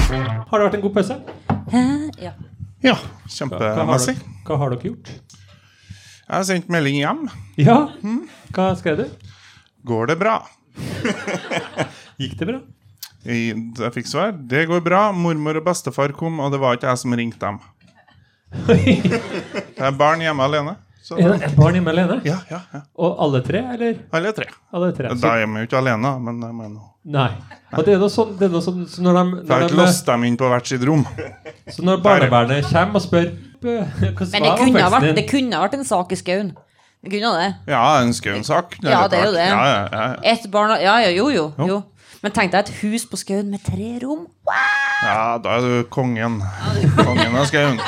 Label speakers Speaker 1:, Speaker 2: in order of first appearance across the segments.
Speaker 1: det vært en god pause?
Speaker 2: Eh, ja.
Speaker 3: Ja,
Speaker 1: Hva har,
Speaker 3: kjempemessig.
Speaker 1: dere, hva har dere gjort?
Speaker 3: Jeg har sendt melding hjem.
Speaker 1: Ja, hva skrev du?
Speaker 3: Går det bra?
Speaker 1: Gikk det bra?
Speaker 3: Jeg, jeg fikk svar. Det går bra. Mormor og bestefar kom, og det var ikke jeg som ringte dem. Det er barn hjemme alene. Så
Speaker 1: Er det et barn hjemme alene?
Speaker 3: ja, ja, ja.
Speaker 1: Og alle tre, eller?
Speaker 3: Alle tre.
Speaker 1: Alle tre.
Speaker 3: Da er de jo ikke alene, men de er nå
Speaker 1: nei. Og det er noe sånn, det er noe sånn så når, de,
Speaker 3: Jeg har
Speaker 1: når,
Speaker 3: ikke
Speaker 1: de,
Speaker 3: låst dem inn på hvert sitt rom.
Speaker 1: så når barnevernet kommer og spør «Bø, hvordan
Speaker 2: Men det
Speaker 1: var
Speaker 2: kunne, ha
Speaker 1: oppveksten
Speaker 2: vært, det
Speaker 1: din?
Speaker 2: kunne ha vært en sak i skauen. Det kunne ha det.
Speaker 3: Ja, en skaunsak.
Speaker 2: Ja, det er jo det.
Speaker 3: Ja, ja, ja, ja.
Speaker 2: Ett barn og- Ja, ja, jo, jo. jo. Men tenk deg et hus på skauen med tre rom.
Speaker 3: ja, da er du kongen. Kongen av skauen.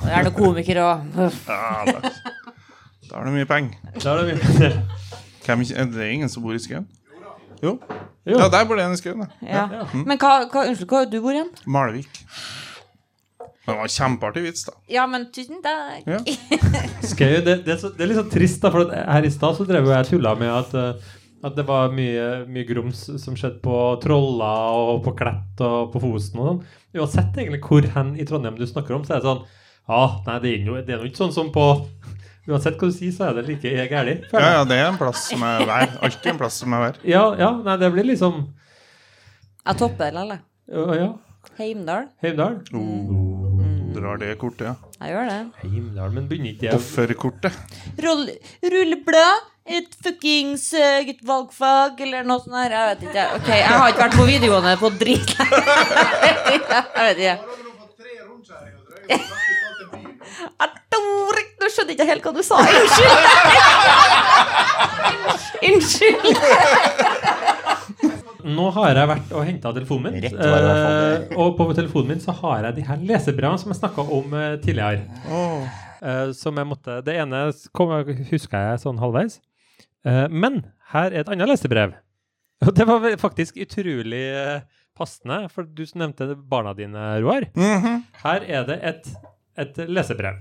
Speaker 2: Og det er noen komikere og
Speaker 3: Ja, da, da har du mye penger.
Speaker 1: Da er det mye.
Speaker 3: Hvem ikke- Er det ingen som bor i skauen? Jo.
Speaker 1: Jo.
Speaker 3: Ja, der bor det en i skauen, ja.
Speaker 2: ja. Men hva, hva Unnskyld, hvor du bor igjen?
Speaker 3: Malvik. Men det var kjempeartig vits, da.
Speaker 2: Ja, men tusen takk.
Speaker 3: Ja.
Speaker 1: Skal jeg, det, det, er så, det er litt sånn trist, da, for at her i stad så drev jo jeg tulla med at eh, at det var mye, mye grums som skjedde på Trolla og på Klett og på Fosen og sånn. Uansett egentlig hvor hen i Trondheim du snakker om, så er det sånn Ja, nei, det er jo det er jo ikke sånn som på Uansett hva du sier, så er det like gærent.
Speaker 3: Ja, ja, det er en plass som er vær. Alltid en plass som er vær.
Speaker 1: ja, ja, nei, det blir liksom
Speaker 2: Jeg topper, eller?
Speaker 1: Ja, ja.
Speaker 2: Heimdal.
Speaker 1: Heimdal.
Speaker 3: Mm.
Speaker 2: Mm.
Speaker 3: Drar det kortet, ja.
Speaker 2: Jeg gjør det.
Speaker 1: Heimdal, men begynner ikke jeg
Speaker 3: Offerkortet.
Speaker 2: Roll, rulleblad. Et fuckings eh, et valgfag eller noe sånt her. Jeg vet ikke. Ok, Jeg har ikke vært på videoene på dritlenge. Jeg vet ikke. Jeg tror ikke- Nå skjønner jeg ikke helt hva du sa. Unnskyld! Unnskyld.
Speaker 1: Nå har jeg vært og henta telefonen min.
Speaker 4: Rett var det i hvert
Speaker 1: eh, og på telefonen min så har jeg de her lesebrevene som jeg snakka om eh, tidligere. Eh, som jeg måtte Det ene s- kom, huska jeg sånn halvveis. Eh, men her er et annet lesebrev. Og det var vel faktisk utrolig eh, passende, for du som nevnte barna dine, Roar.
Speaker 3: Mm. Mhm.
Speaker 1: Her er det et, et lesebrev.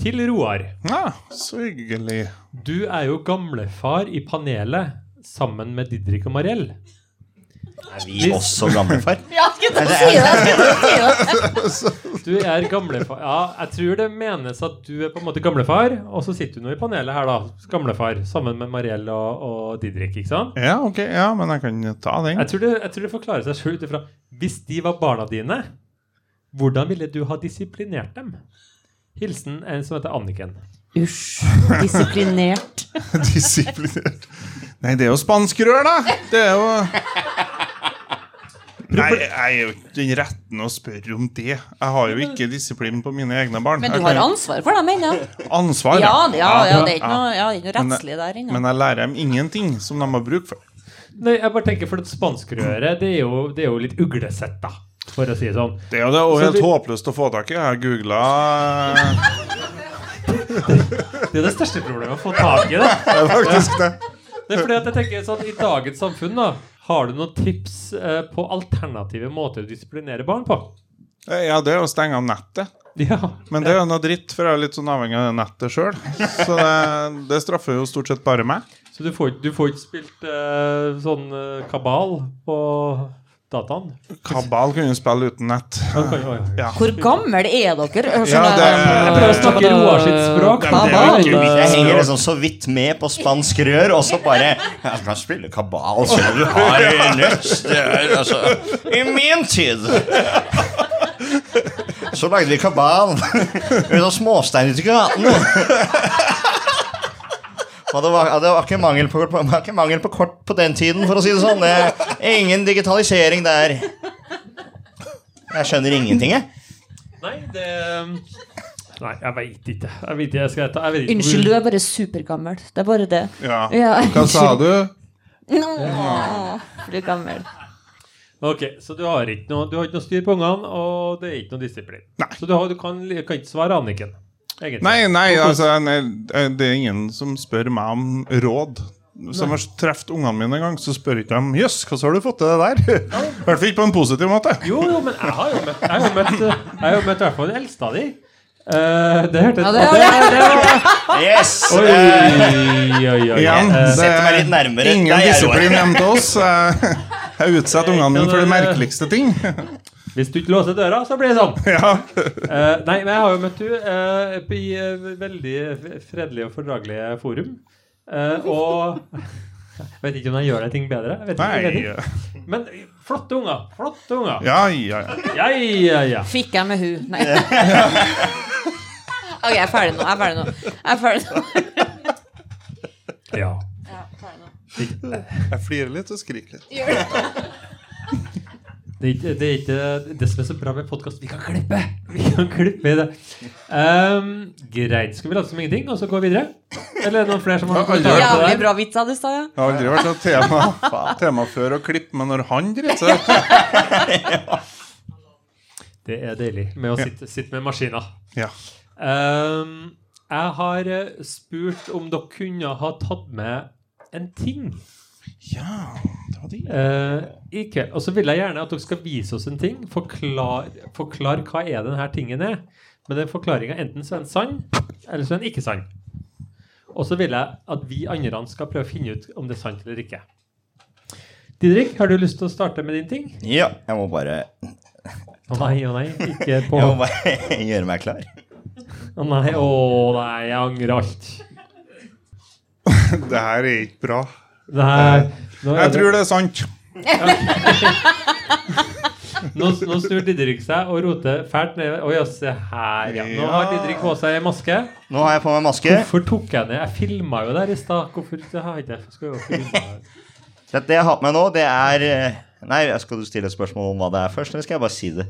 Speaker 1: Til Roar.
Speaker 3: Ja, så hyggelig.
Speaker 1: Du er jo gamlefar i panelet sammen med Didrik og Mariell.
Speaker 4: Er vi også gamlefar?
Speaker 2: Jeg skulle til å si det. Jeg skulle til å si det.
Speaker 1: Du er gamlefar Ja, jeg tror det menes at du er på en måte gamlefar, og så sitter du nå i panelet her, da. Gamlefar sammen med Mariell og, og Didrik, ikke sant?
Speaker 3: Ja, ok, ja, men jeg kan ta den.
Speaker 1: Jeg tror det, jeg tror det forklarer seg sjøl ut ifra Hvis de var barna dine, hvordan ville du ha disiplinert dem? Hilsen en som heter Anniken.
Speaker 2: Usj. Disiplinert.
Speaker 3: Disiplinert. Nei, det er jo spanskrør, da! Det er jo Nei, jeg er jo ikke den retten å spørre om det. Jeg har jo ikke disiplin på mine egne barn.
Speaker 2: Men
Speaker 3: Jeg
Speaker 2: du har
Speaker 3: kan-
Speaker 2: ansvar for dem ennå.
Speaker 3: ansvar.
Speaker 2: Ja, ja, ja, det er ikke noe, ja, det er ikke noe
Speaker 3: Men-
Speaker 2: rettslig der ennå.
Speaker 3: Men jeg lærer dem ingenting som de har bruk for.
Speaker 1: Nei, jeg bare tenker, for det spanskrøret, det er jo, det er jo litt uglesett, da. For å si det sånn.
Speaker 3: Det er jo det, og
Speaker 1: Så
Speaker 3: helt
Speaker 1: du-
Speaker 3: håpløst å få tak i. Jeg har googla
Speaker 1: Det er det største problemet, å få tak i det.
Speaker 3: faktisk det.
Speaker 1: Det er fordi at jeg tenker sånn, I dagens samfunn da har du noen tips eh, på alternative måter å disiplinere barn på?
Speaker 3: Eh, Ja, det er å stenge av nettet.
Speaker 1: Ja.
Speaker 3: Men det er jo noe dritt, for jeg er litt sånn avhengig av det nettet sjøl. Så det, det straffer jo stort sett bare meg.
Speaker 1: Så du får, ikke- du får ikke spilt eh, sånn eh, kabal på dataen?
Speaker 3: Kabal kunne jo spille uten nett.
Speaker 1: Ja, du kan jo- ja.
Speaker 3: Ja.
Speaker 2: Hvor gammel er dere? Jeg
Speaker 3: Ja, det er- Jeg
Speaker 1: prøver å snakke Roar sitt språk.
Speaker 3: Ja, men det er jo
Speaker 1: Kabal.
Speaker 3: ikke mitt.
Speaker 4: Jeg henger liksom så vidt med på spansk rør, og så bare Jeg kan spille kabal som du har lyst. Det er altså I min tid! Så lagde de kabal ut av småstein ute i gatene. Og det var, ja, det, var ikke mangel på, det var ikke mangel på kort på den tiden, for å si det sånn. Det er ingen digitalisering der. Jeg skjønner ingenting, jeg.
Speaker 1: Nei, det um, Nei, jeg veit ikke. Jeg vet ikke, jeg skal ta jeg vet ikke hvor-
Speaker 2: Unnskyld, du er bare supergammel. Det er bare det.
Speaker 3: Ja.
Speaker 2: Ja.
Speaker 3: Hva sa du?
Speaker 2: Nå, du er gammel.
Speaker 1: Ok, Så du har ikke noe, du har ikke noe styr på ungene, og det er ikke noe disiplin.
Speaker 3: Nei.
Speaker 1: Så du, har, du kan, kan ikke svare Anniken. Egentlig.
Speaker 3: Nei, nei, altså nei, det er ingen som spør meg om råd. Hvis jeg har truffet ungene mine en gang, så spør ikke de Jøss, hvordan har du fått til det der? I hvert fall ikke på en positiv måte.
Speaker 1: Jo, jo, men jeg har jo møtt Jeg har jo møtt, eh, jeg har jo møtt i hvert fall den eldste av de. Eh, det hørtes
Speaker 2: Ja, det-
Speaker 4: Yes!
Speaker 1: Oi,
Speaker 4: eh,
Speaker 1: oi, oi.
Speaker 3: Igjen,
Speaker 1: Eh,
Speaker 3: det
Speaker 4: Sette meg litt nærmere.
Speaker 3: er ingen
Speaker 4: Der er
Speaker 3: Eh,
Speaker 4: jeg, Roar.
Speaker 3: disiplin hjemme til oss. Jeg utsetter ungene mine for de merkeligste ting.
Speaker 1: Hvis du ikke låser døra, så blir det sånn.
Speaker 3: Ja.
Speaker 1: Eh, nei, men jeg har jo møtt henne i eh, veldig f- fredelige og fordragelige forum. Eh, og jeg vet ikke om jeg gjør de ting bedre. Jeg vet ikke, jeg
Speaker 3: Nei.
Speaker 1: vet ikke. Men eh, flotte unger. Flotte unger.
Speaker 3: Ja, ja, ja.
Speaker 1: Ja, ja, ja.
Speaker 2: Fikk jeg med hun? Nei. OK, jeg er ferdig nå. Jeg er ferdig nå. Jeg er ferdig nå.
Speaker 1: ja.
Speaker 2: Ja, ferdig nå.
Speaker 3: Jeg flirer litt og skriker litt.
Speaker 2: Gjør det.
Speaker 1: Det er, ikke, det er ikke det som er så bra med podkast. Vi kan klippe! Vi kan klippe i det. Ehm, greit. Skal vi late som ingenting, og så gå videre? Eller er det noen flere som har noen kommentarer til det
Speaker 2: Jævlig
Speaker 1: her?
Speaker 2: bra vits av du sa, ja.
Speaker 3: Det har aldri vært noe tema, tema før å klippe, men når han driter seg ut
Speaker 1: Det er deilig med å sitte, sitte med maskiner.
Speaker 3: Ja.
Speaker 1: Ehm, jeg har eh, spurt om dere kunne ha tatt med en ting
Speaker 3: ja, det var de.
Speaker 1: eh, i kveld. Og så vil jeg gjerne at dere skal vise oss en ting. Forklar, forklar hva er denne tingen er. Men den forklaringa enten så er den sann, eller så er den ikke sann. Og så vil jeg at vi andre skal prøve å finne ut om det er sant eller ikke. Didrik, har du lyst til å starte med din ting?
Speaker 4: Ja, jeg må bare,
Speaker 1: Å nei, å nei. Ikke på
Speaker 4: jeg må
Speaker 1: Å
Speaker 4: bare gjøre meg klar.
Speaker 1: nei, å nei, jeg angrer alt.
Speaker 3: Det her er ikke bra.
Speaker 1: Nei, nå, er
Speaker 3: Eh, Jeg
Speaker 1: det-
Speaker 3: tror det er sant.
Speaker 1: Nå, nå snur Didrik seg og roter fælt ned. Oi, ja, se her, ja. Nå har Didrik på seg maske.
Speaker 4: Nå har jeg på meg maske.
Speaker 1: Hvorfor tok jeg ned? Jeg filma jo der i stad. Hvorfor det har jeg ikke jeg skal jo filme her.
Speaker 4: Det, det jeg har på meg nå, det er eh, Nei, skal du stille et spørsmål om hva det er først, eller skal jeg bare si det?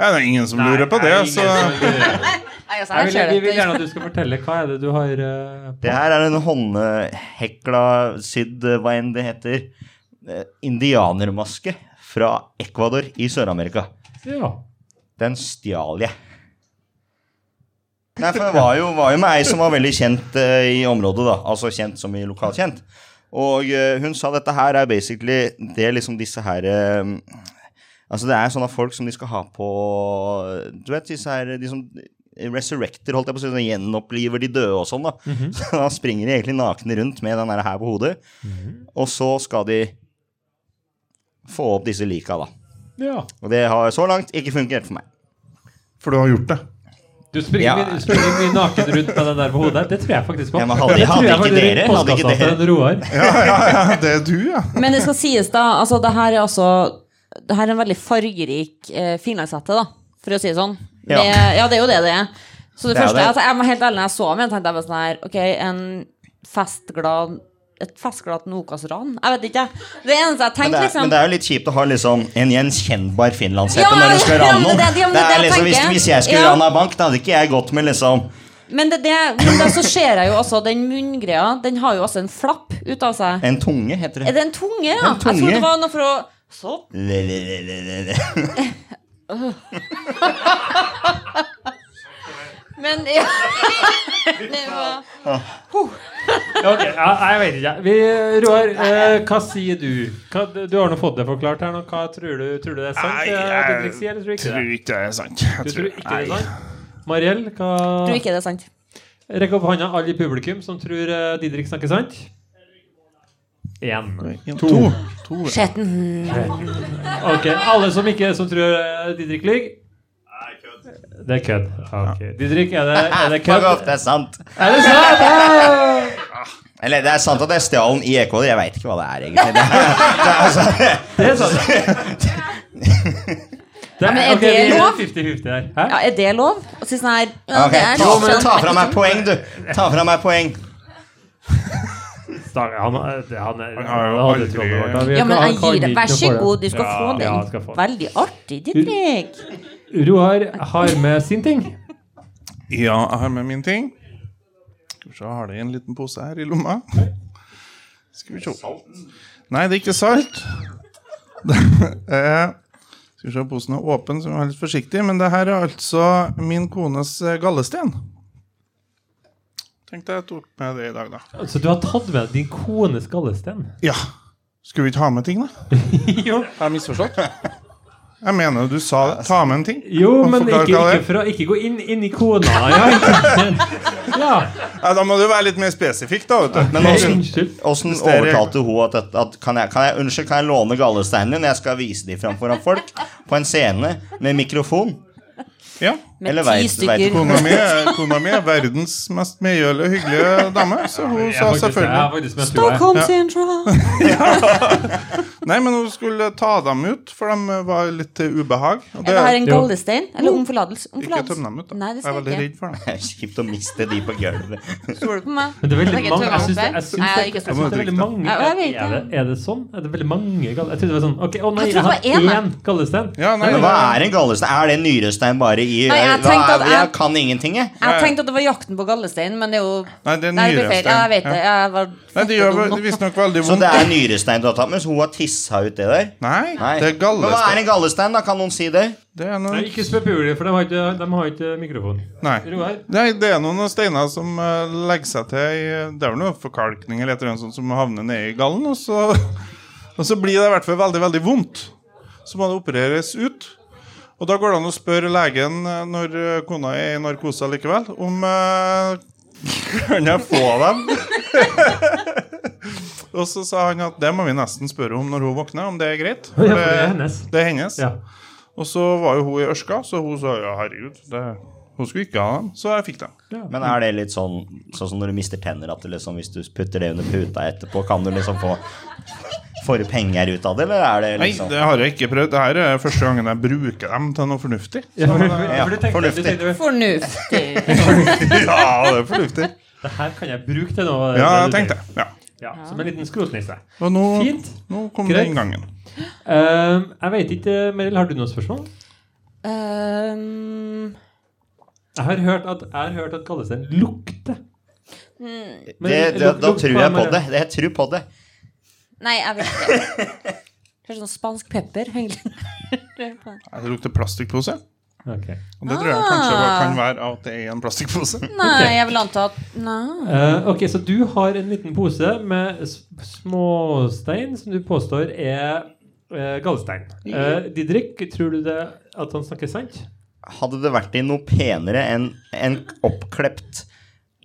Speaker 3: Ja, det er ingen som lurer på
Speaker 1: Nei,
Speaker 3: det,
Speaker 1: jeg er
Speaker 4: altså.
Speaker 3: så
Speaker 1: ingen som lurer.
Speaker 2: Nei, altså,
Speaker 1: Jeg
Speaker 2: jeg
Speaker 1: vil,
Speaker 2: ser
Speaker 1: vi vil
Speaker 2: det.
Speaker 1: gjerne at du skal fortelle. Hva er det du har eh,
Speaker 4: Det her er en håndhekla sydd, eh, hva enn det heter, eh, indianermaske fra Ecuador i Sør-Amerika.
Speaker 1: Ja.
Speaker 4: Den stjal jeg. Nei, for jeg var jo, var jo med ei som var veldig kjent eh, i området, da. Altså kjent som i lokalkjent. Og eh, hun sa dette her er basically Det er liksom disse her eh, Altså det er sånne folk som de skal ha på Du vet disse her De som resurrecter, holdt jeg på å si. Sånn, gjenoppliver de døde og sånn, da. Så da springer de egentlig nakne rundt med den her her på hodet. Og så skal de få opp disse lika, da.
Speaker 1: ja.
Speaker 4: Og det har så langt ikke fungert for meg.
Speaker 3: For du har gjort det.
Speaker 1: Du springer,
Speaker 4: Ja.
Speaker 1: mye- du springer mye naken rundt med den der på hodet. Det tror jeg faktisk på.
Speaker 4: Ja, men hadde- hadde ikke dere- hadde ikke dere-
Speaker 1: dere
Speaker 3: Ja, ja, ja, det er du, ja.
Speaker 2: Men det skal sies, da. Altså, det her er altså Det her er en veldig fargerik eh, finlandshette, da, for å si det sånn.
Speaker 4: Ja.
Speaker 2: Med, ja, det er jo det det er. Så det,
Speaker 4: Det er
Speaker 2: første
Speaker 4: det.
Speaker 2: Altså, Jeg var helt ærlig når jeg så ham, jeg tenkte jeg bare sånn her Ok, en festglad et festglad Nokas-ran? Jeg vet ikke, jeg. Det eneste jeg
Speaker 4: Men det,
Speaker 2: tenkte,
Speaker 4: er, men
Speaker 2: liksom
Speaker 4: det er jo litt kjipt å ha liksom en gjenkjennbar finlandshette
Speaker 2: Ja,
Speaker 4: når du skal
Speaker 2: ja,
Speaker 4: rane
Speaker 2: men
Speaker 4: noen.
Speaker 2: det- ja, men det
Speaker 4: Det er
Speaker 2: jeg
Speaker 4: liksom, hvis,
Speaker 2: tenker.
Speaker 4: hvis jeg skulle
Speaker 2: Ja.
Speaker 4: rana en bank, da hadde ikke jeg gått med liksom
Speaker 2: Men, det, det, men da så ser jeg jo også den munngreia. Den har jo også en flapp ut av seg.
Speaker 4: en tunge, heter
Speaker 2: Er
Speaker 4: det.
Speaker 2: det en tunge, ja?
Speaker 4: En tunge.
Speaker 2: Jeg trodde det var noe for å Så
Speaker 4: Le-le-le-le-le-le.
Speaker 2: Men ja. Det var-
Speaker 1: Ok, ja, jeg vet ikke. Vi, Roar, eh, hva sier du? Hva, du har nå fått det forklart her. Nå. Hva tror du, tror du det er sant?
Speaker 3: Nei,
Speaker 1: det Didrik sier, eller tror du
Speaker 3: jeg
Speaker 1: ikke
Speaker 3: tror
Speaker 1: det?
Speaker 3: ikke det er sant. Jeg
Speaker 1: Du tror ikke det er
Speaker 3: nei.
Speaker 1: sant? Mariell, hva
Speaker 2: Tror ikke det er sant.
Speaker 1: Rekk opp hånda, alle i publikum som tror eh, Didrik snakker sant. Én.
Speaker 3: To.
Speaker 2: Skjetten.
Speaker 1: Ok, alle som ikke som tror eh, Didrik lyver. Det er kødd. Ok. Didrik, er det, er det
Speaker 4: Fuck off,
Speaker 1: kødd?
Speaker 4: det er sant.
Speaker 1: Er det sant? Ah!
Speaker 4: Eller det er sant at jeg stjal den i Ecuador. Jeg veit ikke hva det er, egentlig. Det er, det er, altså,
Speaker 1: Det er sant. Det er,
Speaker 2: men er
Speaker 1: ok,
Speaker 2: det
Speaker 1: vi
Speaker 2: lov?
Speaker 1: 50-50 her. Hæ?
Speaker 2: Ja, er det lov? Å si sånn her ja,
Speaker 4: ok,
Speaker 2: det er sånn-
Speaker 4: ta,
Speaker 2: sant.
Speaker 4: ta fra meg poeng, du. Ta fra meg poeng.
Speaker 1: Stang- Han, er- det- han, er-
Speaker 3: Han har jo
Speaker 1: han hadde
Speaker 3: aldri-
Speaker 1: trollet vårt, da. Vi
Speaker 2: Ja, men
Speaker 1: kan-
Speaker 2: jeg
Speaker 1: kan
Speaker 2: gir deg
Speaker 1: ikke
Speaker 2: Vær så
Speaker 1: få det.
Speaker 2: god, du skal
Speaker 3: Ja,
Speaker 2: få
Speaker 1: ja, jeg skal
Speaker 2: den.
Speaker 1: få den.
Speaker 2: Veldig artig, Didrik.
Speaker 1: Roar har med sin ting.
Speaker 3: Ja, jeg har med min ting. Skal vi se, jeg har det i en liten pose her i lomma. Skal vi se. Nei, det er ikke salt. Eh, Skal vi se, posen er åpen, så vi må være litt forsiktig. Men det her er altså min kones eh, gallesten. Tenkte jeg tok med det i dag, da.
Speaker 1: Så du har tatt med din kones gallesten?
Speaker 3: Ja. Skulle vi ikke ha med ting, da?
Speaker 1: jo.
Speaker 3: Har jeg misforstått? Jeg mener du sa ta med en ting.
Speaker 1: Jo,
Speaker 3: Og
Speaker 1: men
Speaker 3: forklar
Speaker 1: ikke, ikke,
Speaker 3: hva det er.
Speaker 1: fra, ikke gå inn, inn i kona. Ja, ikke- ja.
Speaker 3: Ja, Da må du være litt mer spesifikk, da. vet du
Speaker 4: Men åssen
Speaker 1: Unnskyld.
Speaker 4: åssen
Speaker 3: Hvis dere-
Speaker 4: overtalte hun at, at, at kan, jeg, kan, jeg, unnskyld, kan jeg låne gallesteinen din? Jeg skal vise dem fram foran folk på en scene med mikrofon.
Speaker 3: Ja,
Speaker 2: Med
Speaker 4: Eller
Speaker 2: ti
Speaker 4: vet- vet
Speaker 2: stykker.
Speaker 3: Kona mi, er- kona mi er verdens mest medgjørlige og hyggelige dame, så hun sa selvfølgelig
Speaker 1: selvfølgelig.
Speaker 2: Stockholm Central.
Speaker 3: Nei, men hun skulle ta dem ut, for de var litt til ubehag. Og
Speaker 2: Er det her en
Speaker 1: Jo.
Speaker 2: gallestein? Eller om forlatelse? Om
Speaker 3: ikke
Speaker 2: forlatelse.
Speaker 3: tøm dem ut, da.
Speaker 2: Nei, det
Speaker 3: jeg er
Speaker 2: skal
Speaker 3: veldig
Speaker 2: jeg ikke.
Speaker 3: redd for dem.
Speaker 4: Det er Kjipt å miste de på gulvet.
Speaker 2: Stoler du på meg?
Speaker 1: Men det er veldig
Speaker 2: Jeg
Speaker 1: mange
Speaker 2: tør
Speaker 1: jeg syns det,
Speaker 2: ikke.
Speaker 1: jeg syns
Speaker 2: Nei, jeg
Speaker 1: det,
Speaker 2: er ikke
Speaker 1: jeg
Speaker 2: så
Speaker 1: syns det er veldig mange
Speaker 2: Ja, jeg vet
Speaker 1: er, det,
Speaker 2: ikke.
Speaker 1: er det sånn? Er det veldig mange gall- Jeg trodde det var sånn Ok, å nei,
Speaker 2: Jeg
Speaker 1: jeg
Speaker 2: trodde
Speaker 1: har
Speaker 2: det var én, jeg.
Speaker 1: én gallestein.
Speaker 3: Ja, nei,
Speaker 4: Men hva er en gallestein? Er det en nyrestein bare i
Speaker 2: Nei, jeg
Speaker 4: hva
Speaker 2: tenkte
Speaker 4: er,
Speaker 2: at
Speaker 4: jeg,
Speaker 2: jeg-
Speaker 4: kan ingenting, jeg.
Speaker 2: Jeg tenkte at det var jakten på gallestein, men det er jo
Speaker 3: Nei, det er
Speaker 2: Nei, ble feil.
Speaker 3: nyrestein.
Speaker 2: Ja, jeg vet det. Jeg var
Speaker 3: Nei, det gjør vel- visstnok veldig
Speaker 4: Så
Speaker 3: vondt.
Speaker 4: det er nyrestein du har tatt med, så hun har tissa ut det der?
Speaker 3: Nei,
Speaker 4: Nei.
Speaker 3: det er
Speaker 4: Men hva er
Speaker 3: gallestein.
Speaker 4: en gallestein, da? Kan noen si det?
Speaker 3: Det er
Speaker 1: Nei,
Speaker 3: noen,
Speaker 1: Ikke spør Puli, for de har ikke, de har ikke mikrofon.
Speaker 3: nei.
Speaker 1: Roar?
Speaker 3: Nei, det er noen steiner som eh, legger seg til i Det er vel noe forkalkning eller et eller annet sånt som havner nedi gallen, og så, og så blir det i hvert fall veldig, veldig vondt. Så må det opereres ut. Og da går det an å spørre legen eh, når eh, kona er i narkose likevel, om eh, Kan jeg få dem? og så sa han at det må vi nesten spørre om når hun våkner, om det er greit. For
Speaker 1: Ja, for det er hennes.
Speaker 3: Det er hennes.
Speaker 1: Ja.
Speaker 3: Og så var jo hun i ørska, så hun sa ja, herregud, det, hun skulle ikke ha dem. Så jeg fikk dem.
Speaker 4: Men er det litt sånn Sånn som når du mister tenner, at du liksom, hvis du putter det under puta etterpå, kan du liksom få Får du penger ut av det, eller er det
Speaker 3: Nei,
Speaker 4: liksom
Speaker 3: det har jeg ikke prøvd. Det her er første gangen jeg bruker dem til noe fornuftig.
Speaker 1: Ja, for, for, for du
Speaker 4: Ja,
Speaker 1: tenkte, du
Speaker 4: fornuftig.
Speaker 1: tenkte
Speaker 2: Fornuftig.
Speaker 3: Ja, det er fornuftig.
Speaker 1: Det her kan jeg bruke til noe.
Speaker 3: Ja, jeg
Speaker 1: det du
Speaker 3: tenkte
Speaker 1: driver.
Speaker 3: ja.
Speaker 1: Ja, som en liten skrotnisse.
Speaker 3: Og nå,
Speaker 1: Fint.
Speaker 3: nå kom
Speaker 1: Greit.
Speaker 3: den gangen.
Speaker 1: Ehm, jeg vet ikke, Meril, har du noen spørsmål?
Speaker 2: Um,
Speaker 1: Jeg har hørt at, jeg har hørt at gallestein lukter. Men-
Speaker 4: det, det,
Speaker 1: luk-
Speaker 4: Da
Speaker 1: lukt
Speaker 4: tror jeg på
Speaker 1: Meril.
Speaker 4: det. Jeg tror på det.
Speaker 2: nei, jeg vet ikke. Det er sånn spansk pepper, egentlig.
Speaker 3: Nei, Det lukter plastikkpose.
Speaker 1: Ok.
Speaker 3: Og det tror jeg kanskje
Speaker 2: Ah.
Speaker 3: var- kan være at det er en plastikkpose.
Speaker 2: Nei, jeg vil anta at Nei.
Speaker 1: Eh, ok, Så du har en liten pose med s- småstein som du påstår er eh, gallestein. Eh, Didrik, tror du det at han snakker sant?
Speaker 4: Hadde det vært i noe penere enn en oppklept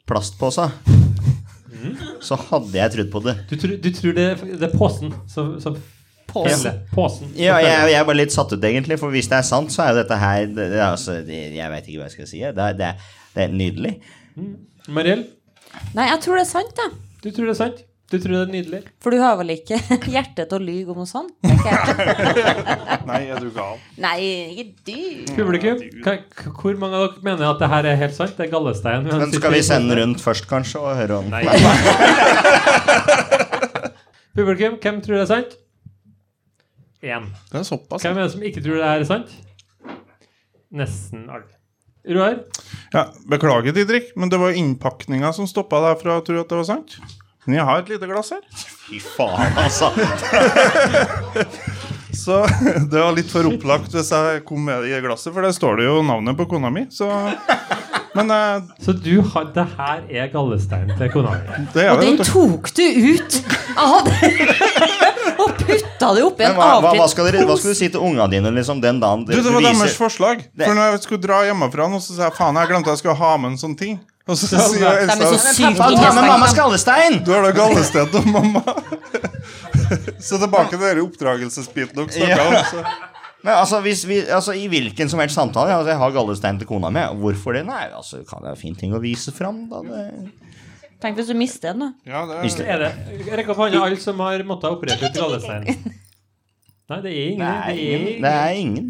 Speaker 4: plastpose, så hadde jeg trodd på det.
Speaker 1: Du, tror- du tror det, det er posen som, som
Speaker 2: Påsen.
Speaker 1: Hele Posen. som
Speaker 4: Ja, jeg,
Speaker 1: følger.
Speaker 4: jeg er bare litt satt ut, egentlig. For hvis det er sant, så er jo dette her det, det, er altså, det, Jeg veit ikke hva jeg skal si. Det, er- det, er- det er nydelig.
Speaker 1: Mariell,
Speaker 2: Nei, jeg tror det er sant, jeg.
Speaker 1: du tror det er sant? Du tror det er nydelig?
Speaker 2: For du har vel ikke hjerte til å lyge om noe sånt? tenker jeg.
Speaker 3: Nei, er du gal?
Speaker 2: Nei, ikke du.
Speaker 1: Publikum, hva- k- hvor mange av dere mener at det her er helt sant? Det er gallestein.
Speaker 4: Men skal vi sende rundt først, kanskje, og høre om
Speaker 1: Nei. Publikum, hvem tror det er sant? Én.
Speaker 3: Det er såpass.
Speaker 1: Hvem er det som ikke tror det her er sant? Nesten alle. Roar?
Speaker 3: Ja, beklager, Didrik, men det var innpakninga som stoppa deg fra å tro at det var sant. Men jeg har et lite glass her.
Speaker 4: Fy faen, altså!
Speaker 3: Så det var litt for opplagt hvis jeg kom med det i glasset, for der står det jo navnet på kona mi. Så. Men eh,
Speaker 1: Så du har Det her er gallestein til kona di.
Speaker 3: det er
Speaker 2: Og
Speaker 3: det.
Speaker 2: den
Speaker 3: vet du.
Speaker 2: tok du ut av Og putta det oppi
Speaker 4: Men
Speaker 2: en
Speaker 4: hva, hva, hva, skal dere, hva
Speaker 2: avkledd
Speaker 4: skal du si til unga dine liksom, den dagen
Speaker 3: Du, det var deres forslag.
Speaker 4: Det-
Speaker 3: For når jeg skulle dra hjemmefra nå, så sa jeg faen, jeg glemte jeg skulle ha med en sånn ting. Og så sier
Speaker 1: nei.
Speaker 2: De
Speaker 3: Elsa
Speaker 2: er så sykt
Speaker 4: Faen, ta med mammas
Speaker 2: innestengte.
Speaker 4: gallestein!
Speaker 3: du har da gallested til mamma. Så tilbake til den oppdragelsesbiten dere snakka om. Så.
Speaker 4: Men altså, hvis vi, altså, I hvilken som helst samtale altså, Jeg har gallestein til kona mi. Hvorfor det? Nei, altså, kan det være fin ting å vise fram, da? Det...
Speaker 2: Tenk hvis du mister den, da.
Speaker 3: Ja, det
Speaker 4: Hvis
Speaker 3: er,
Speaker 4: det-
Speaker 1: Er det Rekk opp hånda alle som har måttet operere ut gallestein. Nei, det er ingen.
Speaker 4: Nei,
Speaker 1: Det er
Speaker 4: det
Speaker 1: ingen.
Speaker 4: er ingen.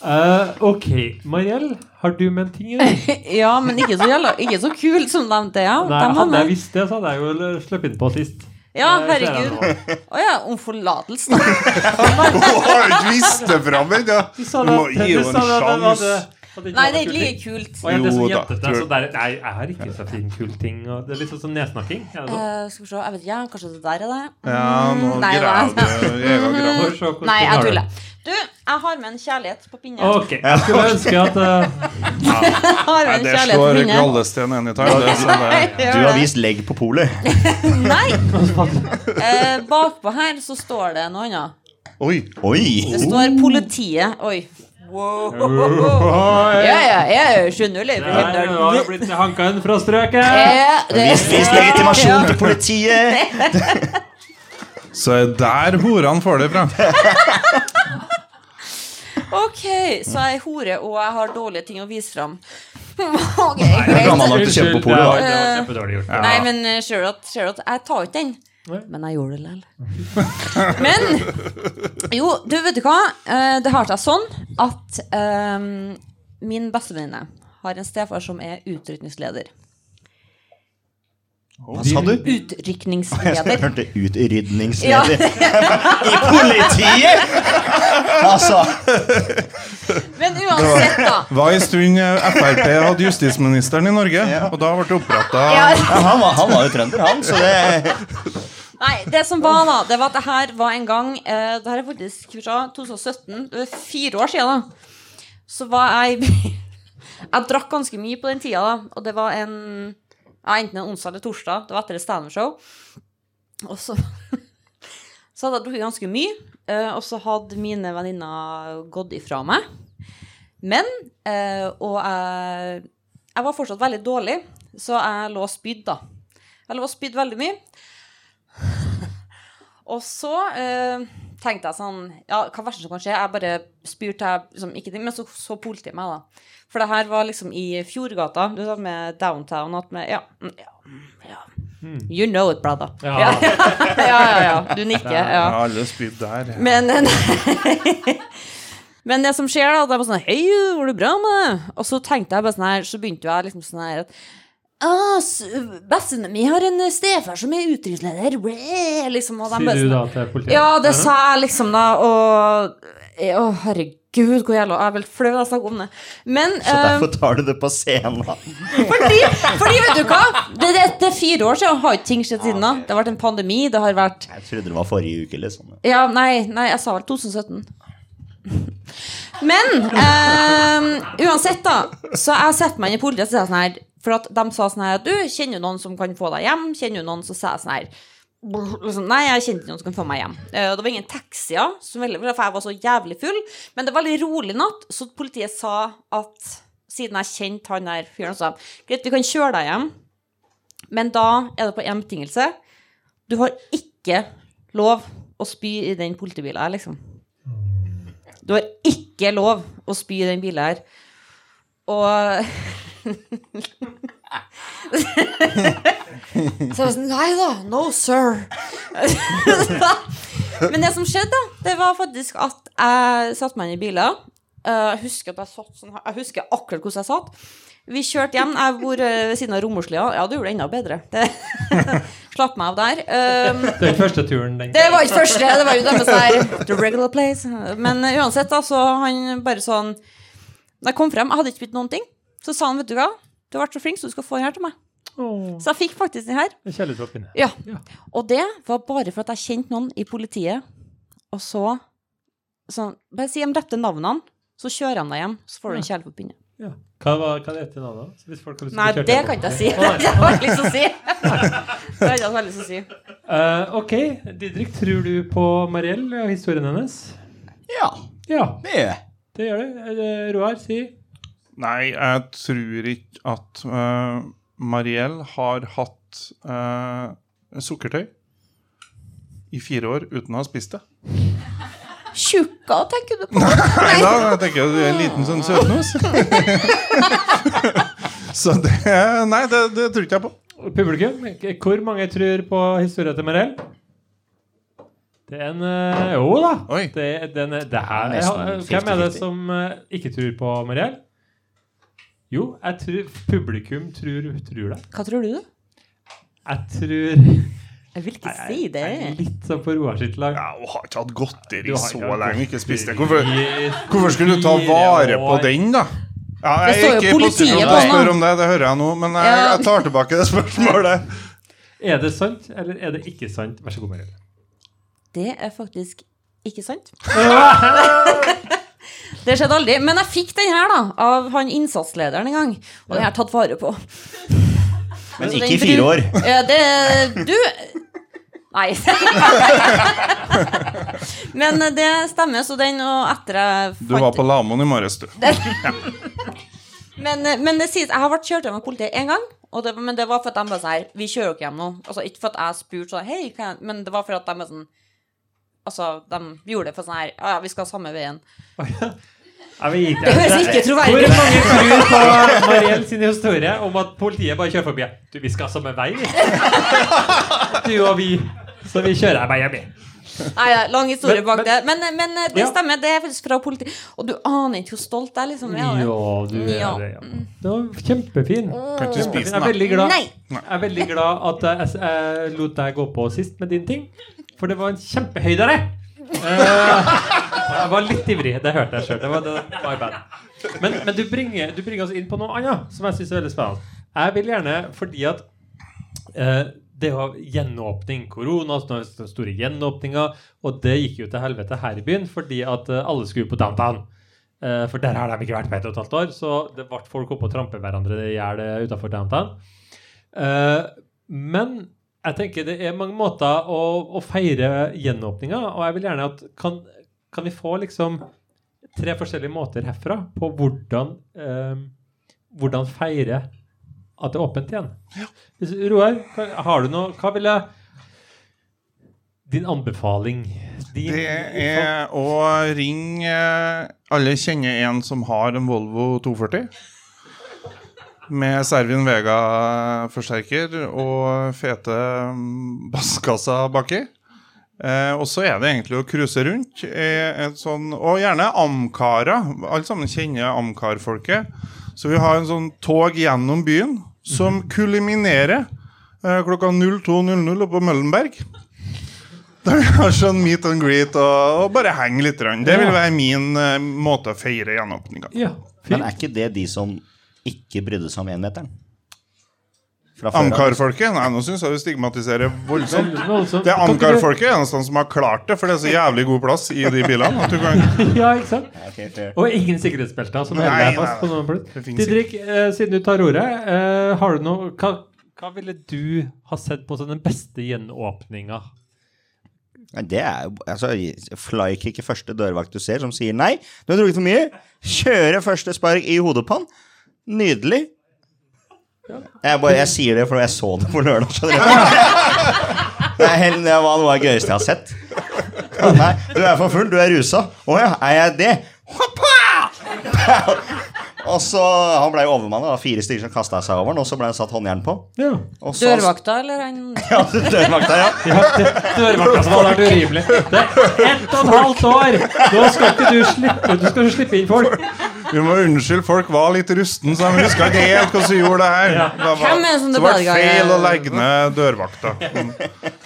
Speaker 1: Eh, ok. Mariell, har du med en ting? Eller?
Speaker 2: Ja, men ikke så, jævla, ikke så kul som de det, ja.
Speaker 1: Nei,
Speaker 2: de har
Speaker 1: hadde jeg
Speaker 2: med.
Speaker 1: visst det, så hadde jeg jo sluppet inn på sist.
Speaker 2: Ja,
Speaker 1: Det ser jeg
Speaker 2: herregud.
Speaker 1: nå.
Speaker 2: Å ja, om forlatelse, da.
Speaker 3: Hun har jo ikke visst det fra meg, ja.
Speaker 1: Du sa
Speaker 3: Du
Speaker 1: det
Speaker 3: må
Speaker 1: at-
Speaker 3: gi
Speaker 1: du
Speaker 3: henne
Speaker 1: sa det
Speaker 3: en
Speaker 1: at den hadde-
Speaker 3: sjanse.
Speaker 1: hadde ikke
Speaker 2: Nei,
Speaker 1: vært
Speaker 2: det er ikke
Speaker 1: kul ting.
Speaker 2: like kult.
Speaker 1: Å, ja, det er
Speaker 3: Jo
Speaker 1: sånn
Speaker 3: da,
Speaker 1: jentete,
Speaker 3: tror jeg.
Speaker 1: så der- Nei, jeg har ikke så fin kul ting. Og det er litt sånn som nedsnakking. Er det sånn?
Speaker 2: Eh, skal vi se, jeg vet ikke, ja, kanskje det der er det?
Speaker 3: Ja, nå
Speaker 2: Mm, Nei, det var-
Speaker 3: graver du i egen grav.
Speaker 1: Får se hvordan
Speaker 2: Nei,
Speaker 1: du har
Speaker 2: jeg
Speaker 1: det.
Speaker 2: tuller. Du, jeg har med en kjærlighet på pinnen.
Speaker 1: Ok, jeg skulle ønske at eh,
Speaker 2: Jeg har med en
Speaker 3: Det
Speaker 2: kjærlighet på
Speaker 3: slår
Speaker 2: pinnen.
Speaker 3: Gallesten anytime. Det, så det.
Speaker 2: Nei, jeg
Speaker 4: Du
Speaker 2: gjør
Speaker 4: har
Speaker 2: det.
Speaker 4: vist legg på polet.
Speaker 2: Nei! Eh, bakpå her så står det noe annet.
Speaker 3: Oi!
Speaker 4: Oi!
Speaker 2: Det står politiet. Oi. Ja, ja, jeg skjønner litt.
Speaker 1: blitt hanka en fra strøket.
Speaker 2: Ja, det
Speaker 4: Vis, vis legitimasjon til politiet!
Speaker 3: Så er der horene får det fra.
Speaker 2: Ok, så jeg er hore, og jeg har dårlige ting å vise fram. Ok, greit.
Speaker 4: gammel. nok til å kjøpe på polo, da.
Speaker 1: det var kjempedårlig gjort.
Speaker 2: Nei, men eh, Sherlock, Sherlock, jeg tar ikke den.
Speaker 1: Nei.
Speaker 2: Men jeg gjorde det likevel. Men jo, du vet du hva? Eh, Det har seg sånn at eh, min bestevenninne har en stefar som er utrykningsleder.
Speaker 4: Hva sa du? Jeg
Speaker 2: Utrykningsleder.
Speaker 4: hørte utrydningsleder. I politiet! Altså,
Speaker 2: Men uansett, da.
Speaker 3: Var en stund eh, Frp hadde justisministeren i Norge, og da ble det oppretta
Speaker 2: Ja,
Speaker 4: ja, han, var, han var jo trønder, han, så det
Speaker 2: Nei, det som var da, det var at det her var en gang eh, Det her er faktisk skal vi se, 2017, det er fire år siden da Så var jeg i by- Jeg drakk ganske mye på den tida da Og det var en ja, Enten en onsdag eller torsdag, det var etter et stand-up-show Og så Så hadde jeg drukket ganske mye eh, Og så hadde mine venninner gått ifra meg Men eh, Og jeg Jeg var fortsatt veldig dårlig Så jeg lå og spydde da Jeg lå og spydde veldig mye og så eh, tenkte jeg sånn Ja, hva verste som kan skje? Jeg bare spyr til jeg liksom, ikke ting, Men så så politiet meg, da. For det her var liksom i Fjordgata, du vet, med downtown at med, ja, mm, ja, mm, ja. You know it, brother.
Speaker 1: Hmm. Ja.
Speaker 2: ja, ja, ja, ja. Du nikker. Ja.
Speaker 3: Ja, alle spydde der.
Speaker 2: Men eh, Men det som skjer, da, det er bare sånn Hei, går det bra med deg? Og så tenkte jeg bare sånn her, så begynte jo jeg liksom sånn her at «Ah, s- Bestevenninna mi har en stefar som er utenriksleder. Wæ», Liksom, og de bare
Speaker 1: Sier du
Speaker 2: sånn-
Speaker 1: da til politiet?
Speaker 2: ja, det sa jeg liksom da, og Å, herregud, hvor jævla Jeg er vel flau når jeg snakker om det. Men
Speaker 4: Så
Speaker 2: eh,
Speaker 4: derfor tar du det på scenen. da.
Speaker 2: fordi, fordi, vet du hva? Det, det, det er fire år siden, og har ikke ting skjedd siden da. Det har vært en pandemi, det har vært
Speaker 4: Jeg trodde det var forrige uke, liksom.
Speaker 2: Ja, nei, nei, jeg sa vel 2017. Men eh, uansett, da. Så jeg setter meg inn i politiet og sier jeg sånn her For at de sa sånn her Du, kjenner du noen som kan få deg hjem? Kjenner du noen? Så sa jeg sånn her brr, liksom, Nei, jeg kjente ikke noen som kan få meg hjem. Eh, og det var ingen taxier, som veldig, for jeg var så jævlig full. Men det var veldig rolig natt, så politiet sa at siden jeg kjente han der fyren, så sa de, greit, vi kan kjøre deg hjem, men da er det på én betingelse. Du har ikke lov å spy i den politibilen her, liksom. Du har ikke lov å spy i den bilen her. Og Så jeg var sånn Nei da. No, sir. Men det som skjedde, da, det var faktisk at jeg satte meg inn i bilen. Eh, Jeg husker at jeg satt sånn her. Jeg husker akkurat hvordan jeg satt. Vi kjørte hjem. Jeg bor eh, ved siden av Romoslia. Ja, du gjorde det enda bedre. Det Slapp meg av der. Um,
Speaker 1: Det er ikke første turen, den.
Speaker 2: det var ikke første, det var jo deres der The regular place. Men eh, uansett, da, så han bare sånn Da jeg kom frem, jeg hadde ikke blitt noen ting. Så sa han, vet du hva, du har vært så flink, så du skal få den her til meg. Så jeg fikk faktisk den her.
Speaker 1: Kjærlighetsvalgpinne.
Speaker 2: Ja.
Speaker 1: Ja.
Speaker 2: Og det var bare for at jeg kjente noen i politiet, og så sånn, Bare si de rette navnene, så kjører han deg hjem, så får du en kjærlighetsforbindelse.
Speaker 1: Ja. Hva var hva det heter navnet? Hvis folk har lyst til å
Speaker 2: Nei,
Speaker 1: kjøre
Speaker 2: det
Speaker 1: på.
Speaker 2: kan ikke jeg si.
Speaker 1: Å,
Speaker 2: Det
Speaker 1: nei.
Speaker 2: har jeg ikke lyst til å si. Det har jeg ikke lyst til å si.
Speaker 1: Eh, ok, Didrik, tror du på Mariell og historien hennes?
Speaker 4: Ja,
Speaker 1: Ja,
Speaker 4: det gjør jeg.
Speaker 1: det gjør du. Eh, Roar, si.
Speaker 3: Nei, jeg tror ikke at eh, Mariell har hatt eh, sukkertøy i fire år uten å ha spist det.
Speaker 2: Tjukka, tenker du på?
Speaker 3: Nei da, jeg tenker du er en liten sånn søtnos. Så det Nei, det, det tror ikke jeg på.
Speaker 1: Publikum, k- hvor mange tror på historien til Mariell? Det er en eh, Jo da!
Speaker 3: Oi.
Speaker 1: Det, er- den er- det her,
Speaker 4: Nesten
Speaker 1: hvem er det
Speaker 4: 50-50.
Speaker 1: som eh, ikke tror på Mariell? Jo, jeg tror publikum tror, tror det.
Speaker 2: Hva tror du?
Speaker 1: Jeg tror
Speaker 2: Jeg vil ikke si det.
Speaker 1: Jeg er litt sånn på Roar sitt lag.
Speaker 3: Ja, hun har ikke hatt
Speaker 1: Du
Speaker 3: godteri
Speaker 1: har
Speaker 3: så
Speaker 1: ikke hatt
Speaker 3: lenge, ikke spist det. Hvorfor,
Speaker 1: godteri.
Speaker 3: hvorfor skulle du ta vare på den, da? Ja,
Speaker 2: Det står
Speaker 3: jeg
Speaker 2: jo
Speaker 3: er ikke i posisjon
Speaker 2: politiet på
Speaker 3: til
Speaker 2: den,
Speaker 3: å
Speaker 2: da.
Speaker 3: spørre om det, det hører jeg nå, men jeg,
Speaker 2: Ja.
Speaker 3: jeg tar tilbake det spørsmålet.
Speaker 1: Er det sant, eller er det ikke sant? Vær så god, Mariell.
Speaker 2: Det er faktisk ikke sant. det skjedde aldri. Men jeg fikk den her da, av han innsatslederen en gang. Og den har jeg tatt vare på.
Speaker 4: Men
Speaker 2: Så
Speaker 4: ikke
Speaker 2: Altså, den
Speaker 4: i fire
Speaker 2: bru-
Speaker 4: år.
Speaker 2: Ja, det, du Nei. Men eh, det stemmer, så den og etter jeg
Speaker 3: Du var på Lamoen i morges, du.
Speaker 2: Men, eh, men det sies, jeg har vært kjørt hjem av politiet én gang. Og det, men det var for at de bare sånn her Vi kjører dere hjem nå. Altså, ikke for at jeg spurte sånn Hei, kan jeg Men det var for at de bare sånn Altså, de gjorde det for sånn her Ja, ja, vi skal samme veien.
Speaker 1: Ja, vi gikk der.
Speaker 2: Det høres ikke
Speaker 1: Hvor
Speaker 2: troverdig ut.
Speaker 1: mange tror på Mariell sin historie om at politiet bare kjører forbi? Du, vi skal samme vei, vi. Du og vi. Så vi kjører her bare hjem, vi.
Speaker 2: Nei, det er lang historie
Speaker 1: Men-
Speaker 2: bak
Speaker 1: men-
Speaker 2: det. Men, eh, men det
Speaker 1: Ja.
Speaker 2: stemmer, det er faktisk fra politiet. Og du aner ikke hvor stolt jeg liksom er. av det.
Speaker 1: Ja, du er
Speaker 2: Ja.
Speaker 1: det, ja. Mm. Det var kjempefin.
Speaker 3: Kan ikke
Speaker 1: Jeg
Speaker 3: spise
Speaker 1: er
Speaker 3: den, da.
Speaker 1: veldig glad,
Speaker 2: Nei.
Speaker 1: jeg er veldig glad at jeg, jeg lot deg gå på sist med din ting, for det var en kjempehøydere. Eh, jeg var litt ivrig. Det hørte jeg sjøl. Det var det, my bad. Men, men du, bringer, du bringer oss inn på noe annet som jeg syns er veldig spennende. Jeg vil gjerne, fordi at Eh, det var gjenåpning. Korona, sånne store gjenåpninger. Og det gikk jo til helvete her i byen fordi at eh, alle skulle på downtown. Eh, For der har de ikke vært på et og et halvt år. Så det ble folk oppe og trampe hverandre i hjel eh, utenfor downtown. Eh, Men jeg tenker det er mange måter å, å feire gjenåpninga, og jeg vil gjerne at kan, kan vi få liksom tre forskjellige måter herfra på hvordan, eh, hvordan feire at det er åpent igjen? Hvis- Roar, hva- har du noe Hva ville Din anbefaling din,
Speaker 3: Det er å ringe eh, Alle kjenner en som har en Volvo 240. Med Servin Vega-forsterker og fete mm, basskasser baki. Eh, og så er det egentlig å cruise rundt. Eh, et sånn, og gjerne amkarer. Alle sammen kjenner amkarfolket. Så vi har en sånn tog gjennom byen som kulminerer eh, klokka 02.00 oppe på Møllenberg. Der vi har sånn meet and greet og, og bare henge litt. grann. Det vil være min eh, måte å feire gjenåpninga.
Speaker 1: Ja, fint.
Speaker 4: Men er ikke det de som ikke brydde seg om énmeteren? Fra før av?
Speaker 3: Amcar-folket? Nei, nå syns jeg du stigmatiserer voldsomt.
Speaker 1: Veldig voldsomt.
Speaker 3: Det er Amcar-folket eneste som har klart det, for det er så jævlig god plass i de bilene. At du kan...
Speaker 1: Ja, ikke sant?
Speaker 4: Ja, ok, fair.
Speaker 1: Og ingen altså. sikkerhetsbelter som
Speaker 3: Nei,
Speaker 1: holder deg
Speaker 3: nei,
Speaker 1: fast på
Speaker 3: nei.
Speaker 1: noen plass.
Speaker 3: Det finnes
Speaker 1: Didrik, eh, siden du tar ordet, eh, har du noe hva, hva ville du ha sett på som den beste gjenåpninga?
Speaker 4: Nei, Det er jo altså, Flykick er første dørvakt du ser som sier nei, du har drukket for mye. Kjøre første spark i hodet på han. Nydelig. Jeg, bare, jeg sier det fordi jeg så det på lørdag. skjønner du. Det er helt- det var noe av det gøyeste jeg har sett. Å Nei, du er for full, du er rusa. Å ja, er jeg det? Hoppa! Og så, Han ble jo overmannet. Det var fire stykker som kasta seg over han, og så ble han satt håndjern på.
Speaker 1: Ja.
Speaker 4: Og så-
Speaker 2: Dørvakta, eller han
Speaker 4: Ja, dørvakta, ja.
Speaker 1: ja det- Dørvakta som hadde vært urimelig. Det er ett og et halvt år! Nå skal ikke du slippe, du skal ikke slippe inn folk.
Speaker 3: Vi må unnskylde, folk var litt rusten, så de huska ikke helt hvordan de gjorde det her. Det var,
Speaker 2: Hvem er det som
Speaker 3: så
Speaker 2: det
Speaker 3: det
Speaker 2: bare
Speaker 3: ble
Speaker 2: ga-
Speaker 3: feil å legge ned dørvakta. Mm.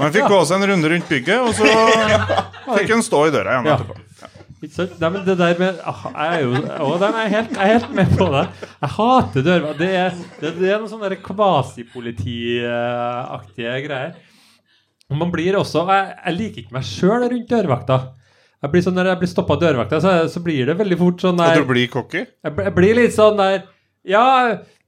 Speaker 3: Man fikk gå seg en runde rundt bygget, og så fikk en stå i døra igjen
Speaker 1: Ja.
Speaker 3: etterpå.
Speaker 1: Ikke sant? Nei, men det der med ah, Jeg er jo å, nei, men jeg er, helt, jeg er helt med på det. Jeg hater dørvakt. Det er, det, det er noen sånne der kvasipolitiaktige greier. Og man blir også Jeg, jeg liker ikke meg sjøl rundt dørvakta. Jeg blir sånn, Når jeg blir stoppa av dørvakta, så, så blir det veldig fort sånn
Speaker 3: Og
Speaker 1: der
Speaker 3: du blir cocky?
Speaker 1: jeg, bl- jeg blir litt sånn der Ja,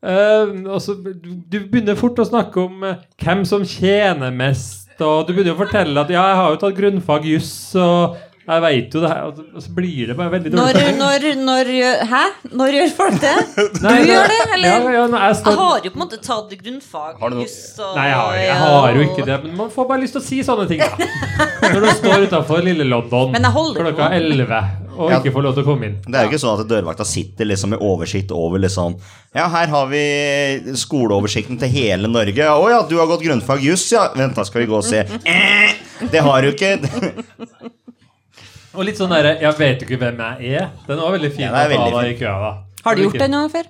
Speaker 1: eh, og så du, du begynner fort å snakke om eh, hvem som tjener mest, og du begynner å fortelle at ja, jeg har jo tatt grunnfag juss, og jeg veit jo det her, og så- og så blir det bare veldig
Speaker 2: når,
Speaker 1: dårlig stemning.
Speaker 2: når, når gjør- Hæ? Når gjør folk det?
Speaker 1: Nei,
Speaker 2: du
Speaker 1: det-
Speaker 2: gjør det, eller?
Speaker 1: Ja, ja, nei, jeg,
Speaker 2: Jeg
Speaker 1: står,
Speaker 2: har jo på en måte tatt grunnfag.
Speaker 4: Har du noe-
Speaker 2: juss og-
Speaker 1: nei jeg, har, jeg har jo ikke det, men man får bare lyst til å si sånne ting, da. Når du står utafor lille London
Speaker 2: Men jeg holder det
Speaker 1: klokka
Speaker 2: nå.
Speaker 1: 11 og
Speaker 4: Ja.
Speaker 1: ikke får lov til å komme inn.
Speaker 4: Det er jo ikke sånn at dørvakta sitter liksom med oversikt over liksom Ja, her har vi skoleoversikten til hele Norge. Å ja, du har gått grunnfag juss, ja. Vent, da skal vi gå og se. Eh, Det har du ikke. Det
Speaker 1: Og litt sånn derre Jeg vet jo ikke hvem jeg er. Den var veldig fin
Speaker 4: Ja, det
Speaker 1: å ta
Speaker 4: er veldig
Speaker 1: da i
Speaker 4: fin.
Speaker 1: køa, da.
Speaker 2: Har du
Speaker 1: Ikke-
Speaker 2: gjort det noen gang før?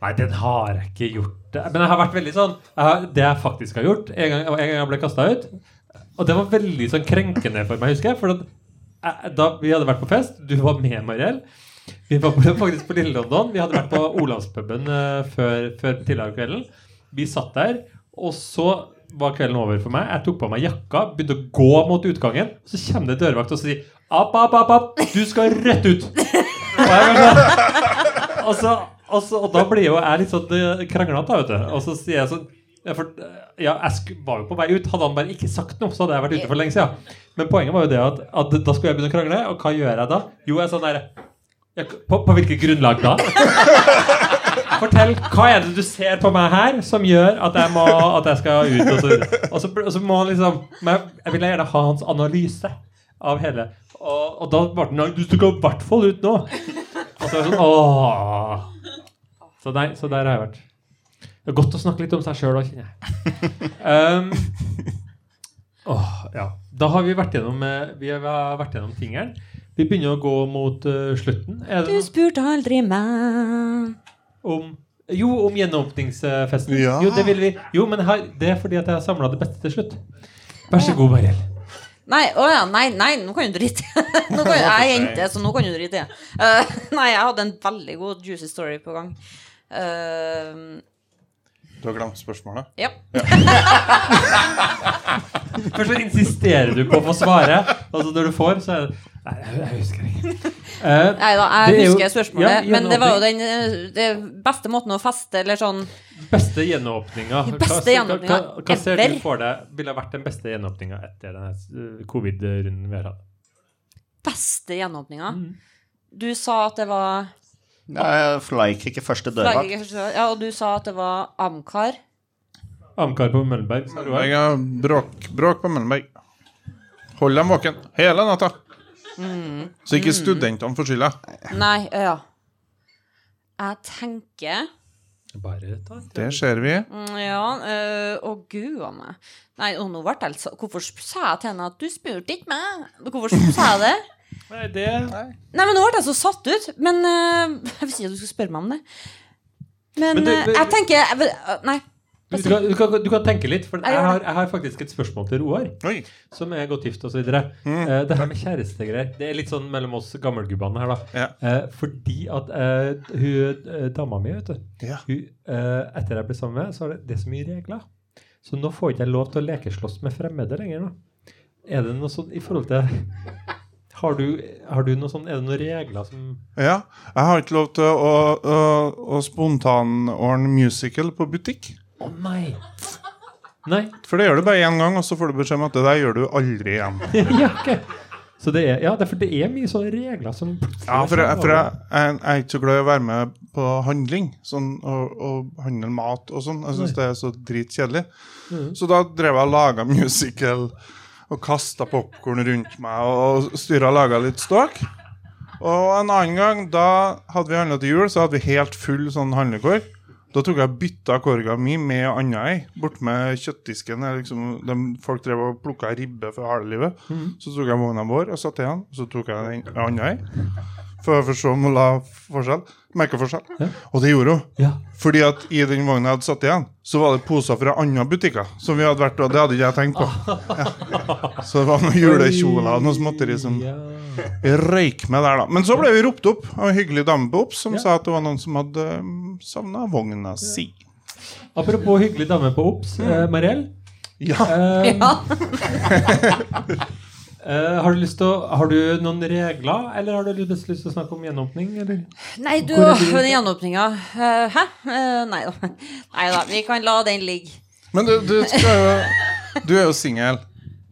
Speaker 1: Nei, den har jeg ikke gjort. Men jeg har vært veldig sånn jeg har, Det jeg faktisk har gjort En gang, en gang jeg ble kasta ut. Og det var veldig sånn krenkende for meg, husker jeg. For at jeg, da vi hadde vært på fest, du var med, Mariell. Vi var på- faktisk på Lille London. Vi hadde vært på Olavspuben eh, før, før tidligere på kvelden. Vi satt der, og så var kvelden over for meg. Jeg tok på meg jakka, begynte å gå mot utgangen. Så kommer det dørvakt og sier App, app, app, app, du skal rett ut! Og jeg var sånn og, så, og, så, og da blir jo jeg litt sånn eh, kranglete, da, vet du. Og så sier jeg sånn Ja, for, eh, ja, jeg sku- var jo på vei ut. Hadde han bare ikke sagt noe, så hadde jeg vært ute for lenge siden. Men poenget var jo det at, at da skulle jeg begynne å krangle, og hva gjør jeg da? Jo, jeg er sånn der ja, på, på hvilket grunnlag da? Fortell, hva er det du ser på meg her som gjør at jeg, må, at jeg skal ut? Og så, og så, og så må han liksom men Jeg ville gjerne ha hans analyse av hele Og, og da ble han Nei, du skal i hvert fall ut nå! Og så er jeg sånn Åh. Så, nei, så der har jeg vært. Det er godt å snakke litt om seg sjøl òg, kjenner jeg. Um, åh, ja. Da har vi vært gjennom, eh, vi har vært gjennom tingeren. Vi begynner å gå mot eh, slutten. Er det
Speaker 2: Du
Speaker 1: noe-
Speaker 2: spurte aldri meg.
Speaker 1: om Jo, om gjenåpningsfesten.
Speaker 3: Ja.
Speaker 1: Jo, det vil vi. Jo, men her, det er fordi at jeg har samla det beste til slutt. Vær så god, Mariell.
Speaker 2: Nei, å ja, nei, nei, nå kan du drite i det. Nå kan- Jeg er jente, så nå kan du drite i det. Eh, nei, jeg hadde en veldig god juicy story på gang. Eh,
Speaker 3: Du har glemt spørsmålet?
Speaker 2: ja.
Speaker 1: Først så insisterer du på å få svare, og så når du får, så er det Nei, jeg, jeg husker ikke. Eh,
Speaker 2: Nei da, jeg
Speaker 1: Det er jo-
Speaker 2: husker
Speaker 1: ja,
Speaker 2: spørsmålet, men det var jo den eh, det beste måten å feste eller sånn
Speaker 1: beste gjenåpninga.
Speaker 2: Den beste gjenåpninga
Speaker 1: hva, hva, hva ser du
Speaker 2: ever.
Speaker 1: for deg ville vært den beste gjenåpninga etter denne eh, covid-runden vi har hatt?
Speaker 2: beste gjenåpninga.
Speaker 1: Mm.
Speaker 2: Du sa at det var
Speaker 4: Nei, Flyker ikke første dørvakt.
Speaker 2: Ja, og du sa at det var Amcar.
Speaker 1: Amcar på Møllenberg. sa du her.
Speaker 3: Møllenberg, ja. Bråk, bråk på Møllenberg. Hold dem våken hele natta.
Speaker 2: Mm.
Speaker 3: Så ikke studentene får skylda.
Speaker 2: Nei, ja. Jeg tenker
Speaker 1: Bare ta et-
Speaker 3: Det ser vi.
Speaker 2: mm, Ja, øh, å gud a meg. Nei, og nå ble jeg litt så- Hvorfor sa jeg til henne at du spurte ikke meg? Hvorfor sa jeg det?
Speaker 1: Nei, det
Speaker 2: Nei, men nå ble jeg så satt ut. Men øh, jeg visste ikke at du skulle spørre meg om det. Men,
Speaker 1: Men du-
Speaker 2: øh, jeg tenker jeg, vil- øh, Nei.
Speaker 1: du, kan, du, kan, du kan tenke litt, for
Speaker 2: Jeg
Speaker 1: jeg
Speaker 2: gjør
Speaker 1: har,
Speaker 2: det.
Speaker 1: jeg har faktisk et spørsmål til Roar.
Speaker 3: Oi.
Speaker 1: som er godt gift osv.
Speaker 3: Mm.
Speaker 1: Eh, det her med kjærestegreier Det er litt sånn mellom oss gammelgubbene her, da.
Speaker 3: Ja.
Speaker 1: Eh, fordi at eh, hun eh, dama mi, vet du
Speaker 3: Ja.
Speaker 1: hun, eh, Etter jeg ble sammen med henne, så er det, det er så mye regler. Så nå får ikke jeg lov til å lekeslåss med fremmede lenger. nå Er det noe sånn i forhold til Har du, har du noe sånn Er det noen regler som
Speaker 3: Ja. Jeg har ikke lov til å, å, å spontanordne musical på butikk.
Speaker 1: Å nei! Nei.
Speaker 3: For det gjør du bare én gang, og så får du beskjed om at det der gjør du aldri igjen.
Speaker 1: ja, ok. Så det er, ja, det er, for det er mye sånne regler som
Speaker 3: Ja, for jeg, for jeg, jeg, jeg er ikke så glad i å være med på handling. Sånn, og, og handle mat og sånn. Jeg syns det er så dritkjedelig. Så da drev jeg og laga musical og kasta popkorn rundt meg og styra og laga litt ståk. Og en annen gang, da hadde vi handla til jul, så hadde vi helt full sånn handlekorg. Da tok jeg og bytta korga mi med anna i. Bortmed kjøttdisken. der Liksom, dem- folk drev og plukka ribbe for harde livet. Så tok jeg vogna vår og satte igjen. Så tok jeg den anna i. For, for så må la forskjell. Merka forskjell. Og det gjorde hun.
Speaker 1: Ja.
Speaker 3: Fordi at i den vogna jeg hadde satt igjen, så var det poser fra andre butikker. Som vi hadde vært og Det hadde ikke jeg tenkt på. Ja. Så det var noen julekjoler og noe småtteri som
Speaker 1: ja.
Speaker 3: røyk med der, da. Men så ble vi ropt opp av en hyggelig dame på Ops som
Speaker 1: Ja.
Speaker 3: sa at det var noen som hadde um, savna vogna si.
Speaker 1: Apropos hyggelig dame på OBS,
Speaker 4: Mm.
Speaker 1: eh, Mariell.
Speaker 3: Ja.
Speaker 1: Eh,
Speaker 2: Ja.
Speaker 1: eh, har, du lyst til å, har du noen regler, eller har du lyst, lyst til å snakke om gjenåpning? Eller?
Speaker 2: Nei, du,
Speaker 1: Hvor er det-
Speaker 2: den gjenåpninga eh, Hæ? Eh, nei da. Nei da, vi kan la den ligge.
Speaker 3: Men du, du, skal jo, du er jo singel.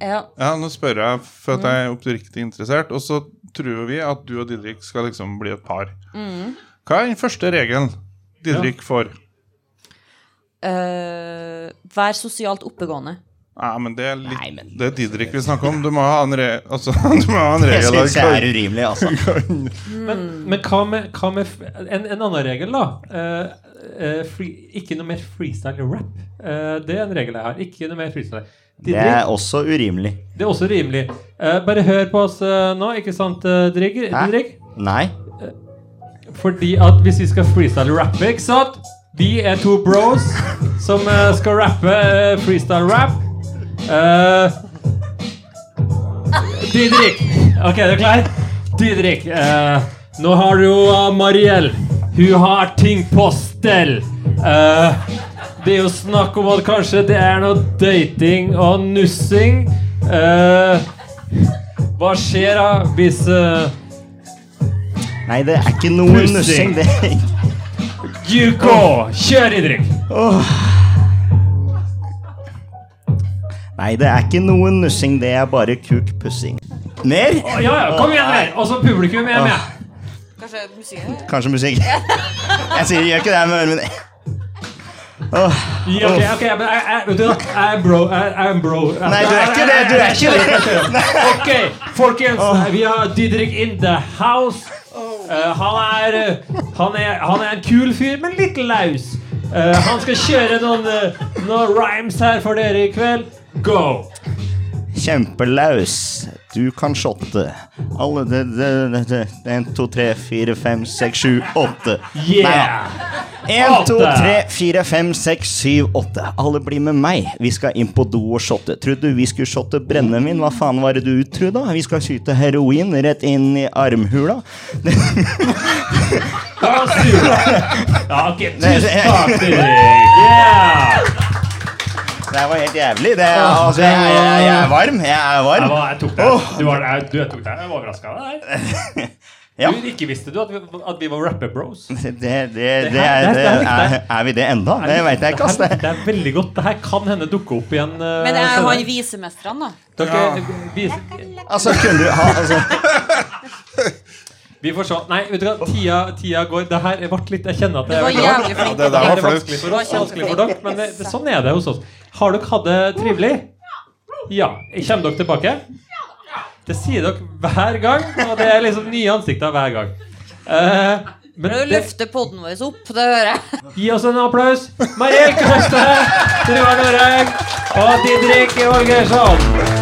Speaker 2: Ja.
Speaker 3: Ja, nå spør jeg for
Speaker 4: Mm.
Speaker 3: at jeg er oppriktig interessert. Og så tror vi at du og Didrik skal liksom bli et par.
Speaker 4: Mm.
Speaker 3: Hva er den første regelen Didrik får?
Speaker 2: Eh, vær sosialt oppegående.
Speaker 3: Nei, men det er litt
Speaker 4: Nei, men-
Speaker 3: Det er Didrik vi snakker om. Du må ha en, re altså, du må ha en
Speaker 4: Jeg
Speaker 3: regel.
Speaker 4: syns jeg er urimelig, altså.
Speaker 1: Men, men hva med, hva med f- en, en annen regel, da? Eh, eh, free, ikke noe mer freestyle rap. Eh, det er en regel jeg har. Ikke noe mer freestyle.
Speaker 4: Det
Speaker 1: Didrik,
Speaker 4: er også urimelig.
Speaker 1: det er også rimelig. Eh, bare hør på oss eh, nå, ikke sant, eh, Didrik?
Speaker 4: Hæ?
Speaker 1: Didrik?
Speaker 4: Nei.
Speaker 1: Fordi at hvis vi skal freestyle rappe, ikke sant? Vi er to bros som eh, skal rappe eh, freestyle rap. Eh, Didrik. Ok, er du klar? Didrik, eh, nå har du uh, Mariell. Hun har ting på stell. Eh, det er jo snakk om at kanskje det er noe dating og nussing. Eh, hva skjer da hvis eh,
Speaker 4: Nei, det er ikke noe
Speaker 1: Nussing.
Speaker 4: nussing. Det
Speaker 1: You go! Kjør, Idrik!
Speaker 4: Åh. Nei, det er ikke noen nussing, det er bare kukpussing. Mer?
Speaker 1: Ja, ja, kom igjen mer! Altså, publikum er
Speaker 4: Ah.
Speaker 1: med.
Speaker 2: Kanskje musikken
Speaker 4: Kanskje musikk. Jeg sier gjør ikke det med ørene mine.
Speaker 1: Ja, ok, ok, men jeg, jeg, vet du, hva? jeg er bro. Jeg, jeg er en bro. Jeg,
Speaker 4: Nei, du er ikke det. Du er ikke det.
Speaker 1: Ok, folkens,
Speaker 4: Ah.
Speaker 1: vi har Didrik in the house. Eh, han, er, eh, han, er, han er en kul fyr, men litt laus. Eh, han skal kjøre noen, eh, noen rhymes her for dere i kveld. Go!
Speaker 4: Kjempelaus. Du kan shotte. Alle det, det, det, det. En, to, tre, fire, fem, seks, sju, åtte.
Speaker 1: Yeah!
Speaker 4: En, to,
Speaker 1: Åtte.
Speaker 4: tre, fire, fem, seks, syv, åtte. Alle blir med meg. Vi skal inn på do og shotte. Trodde vi skulle shotte brennevin. Hva faen var det du trodde? da? Vi skal skyte heroin rett inn i armhula.
Speaker 1: Da snur du. Ja, ok,
Speaker 4: Nei, det-
Speaker 1: tusen takk, Didrik. Yeah!
Speaker 4: Det her var helt jævlig. Det, altså, jeg, jeg, jeg er varm. Jeg er
Speaker 1: Jeg,
Speaker 4: varm.
Speaker 1: var, jeg tok deg. Du, var, jeg, du, jeg tok deg. Jeg var overraska.
Speaker 4: Ja.
Speaker 1: Du ikke visste du at vi, at vi var rapper bros?
Speaker 4: Det, det, det,
Speaker 1: Det her-
Speaker 4: det, er,
Speaker 1: det- det
Speaker 4: det
Speaker 1: her likte
Speaker 4: er,
Speaker 1: jeg.
Speaker 4: er vi det enda? Det veit jeg ikke. ass.
Speaker 1: Det her-
Speaker 4: Det-
Speaker 1: Det er veldig godt. Det her kan hende dukke opp igjen. eh,
Speaker 2: Men det er jo
Speaker 1: senere.
Speaker 2: han visemesteren, da.
Speaker 1: Dere, vi,
Speaker 4: Altså, kunne du ha altså,
Speaker 1: vi får se. Nei, vet du hva, tida, tida går. Det her ble litt Jeg kjenner at det
Speaker 2: Du
Speaker 1: er
Speaker 2: var
Speaker 1: veldig
Speaker 2: jævlig flink.
Speaker 3: det der var flaut.
Speaker 1: vanskelig for oss, vanskelig for dere, men det, det, sånn er det hos oss. Har dere hatt det trivelig? Ja. Kommer dere tilbake? Det sier dere hver gang, og det er liksom nye ansikter hver gang. Eh, men
Speaker 2: Prøv
Speaker 1: det,
Speaker 2: å løfte poden vår opp, det hører jeg.
Speaker 1: gi oss en applaus. Marie Kåstø, Truar Noreng og Didrik Holgersson.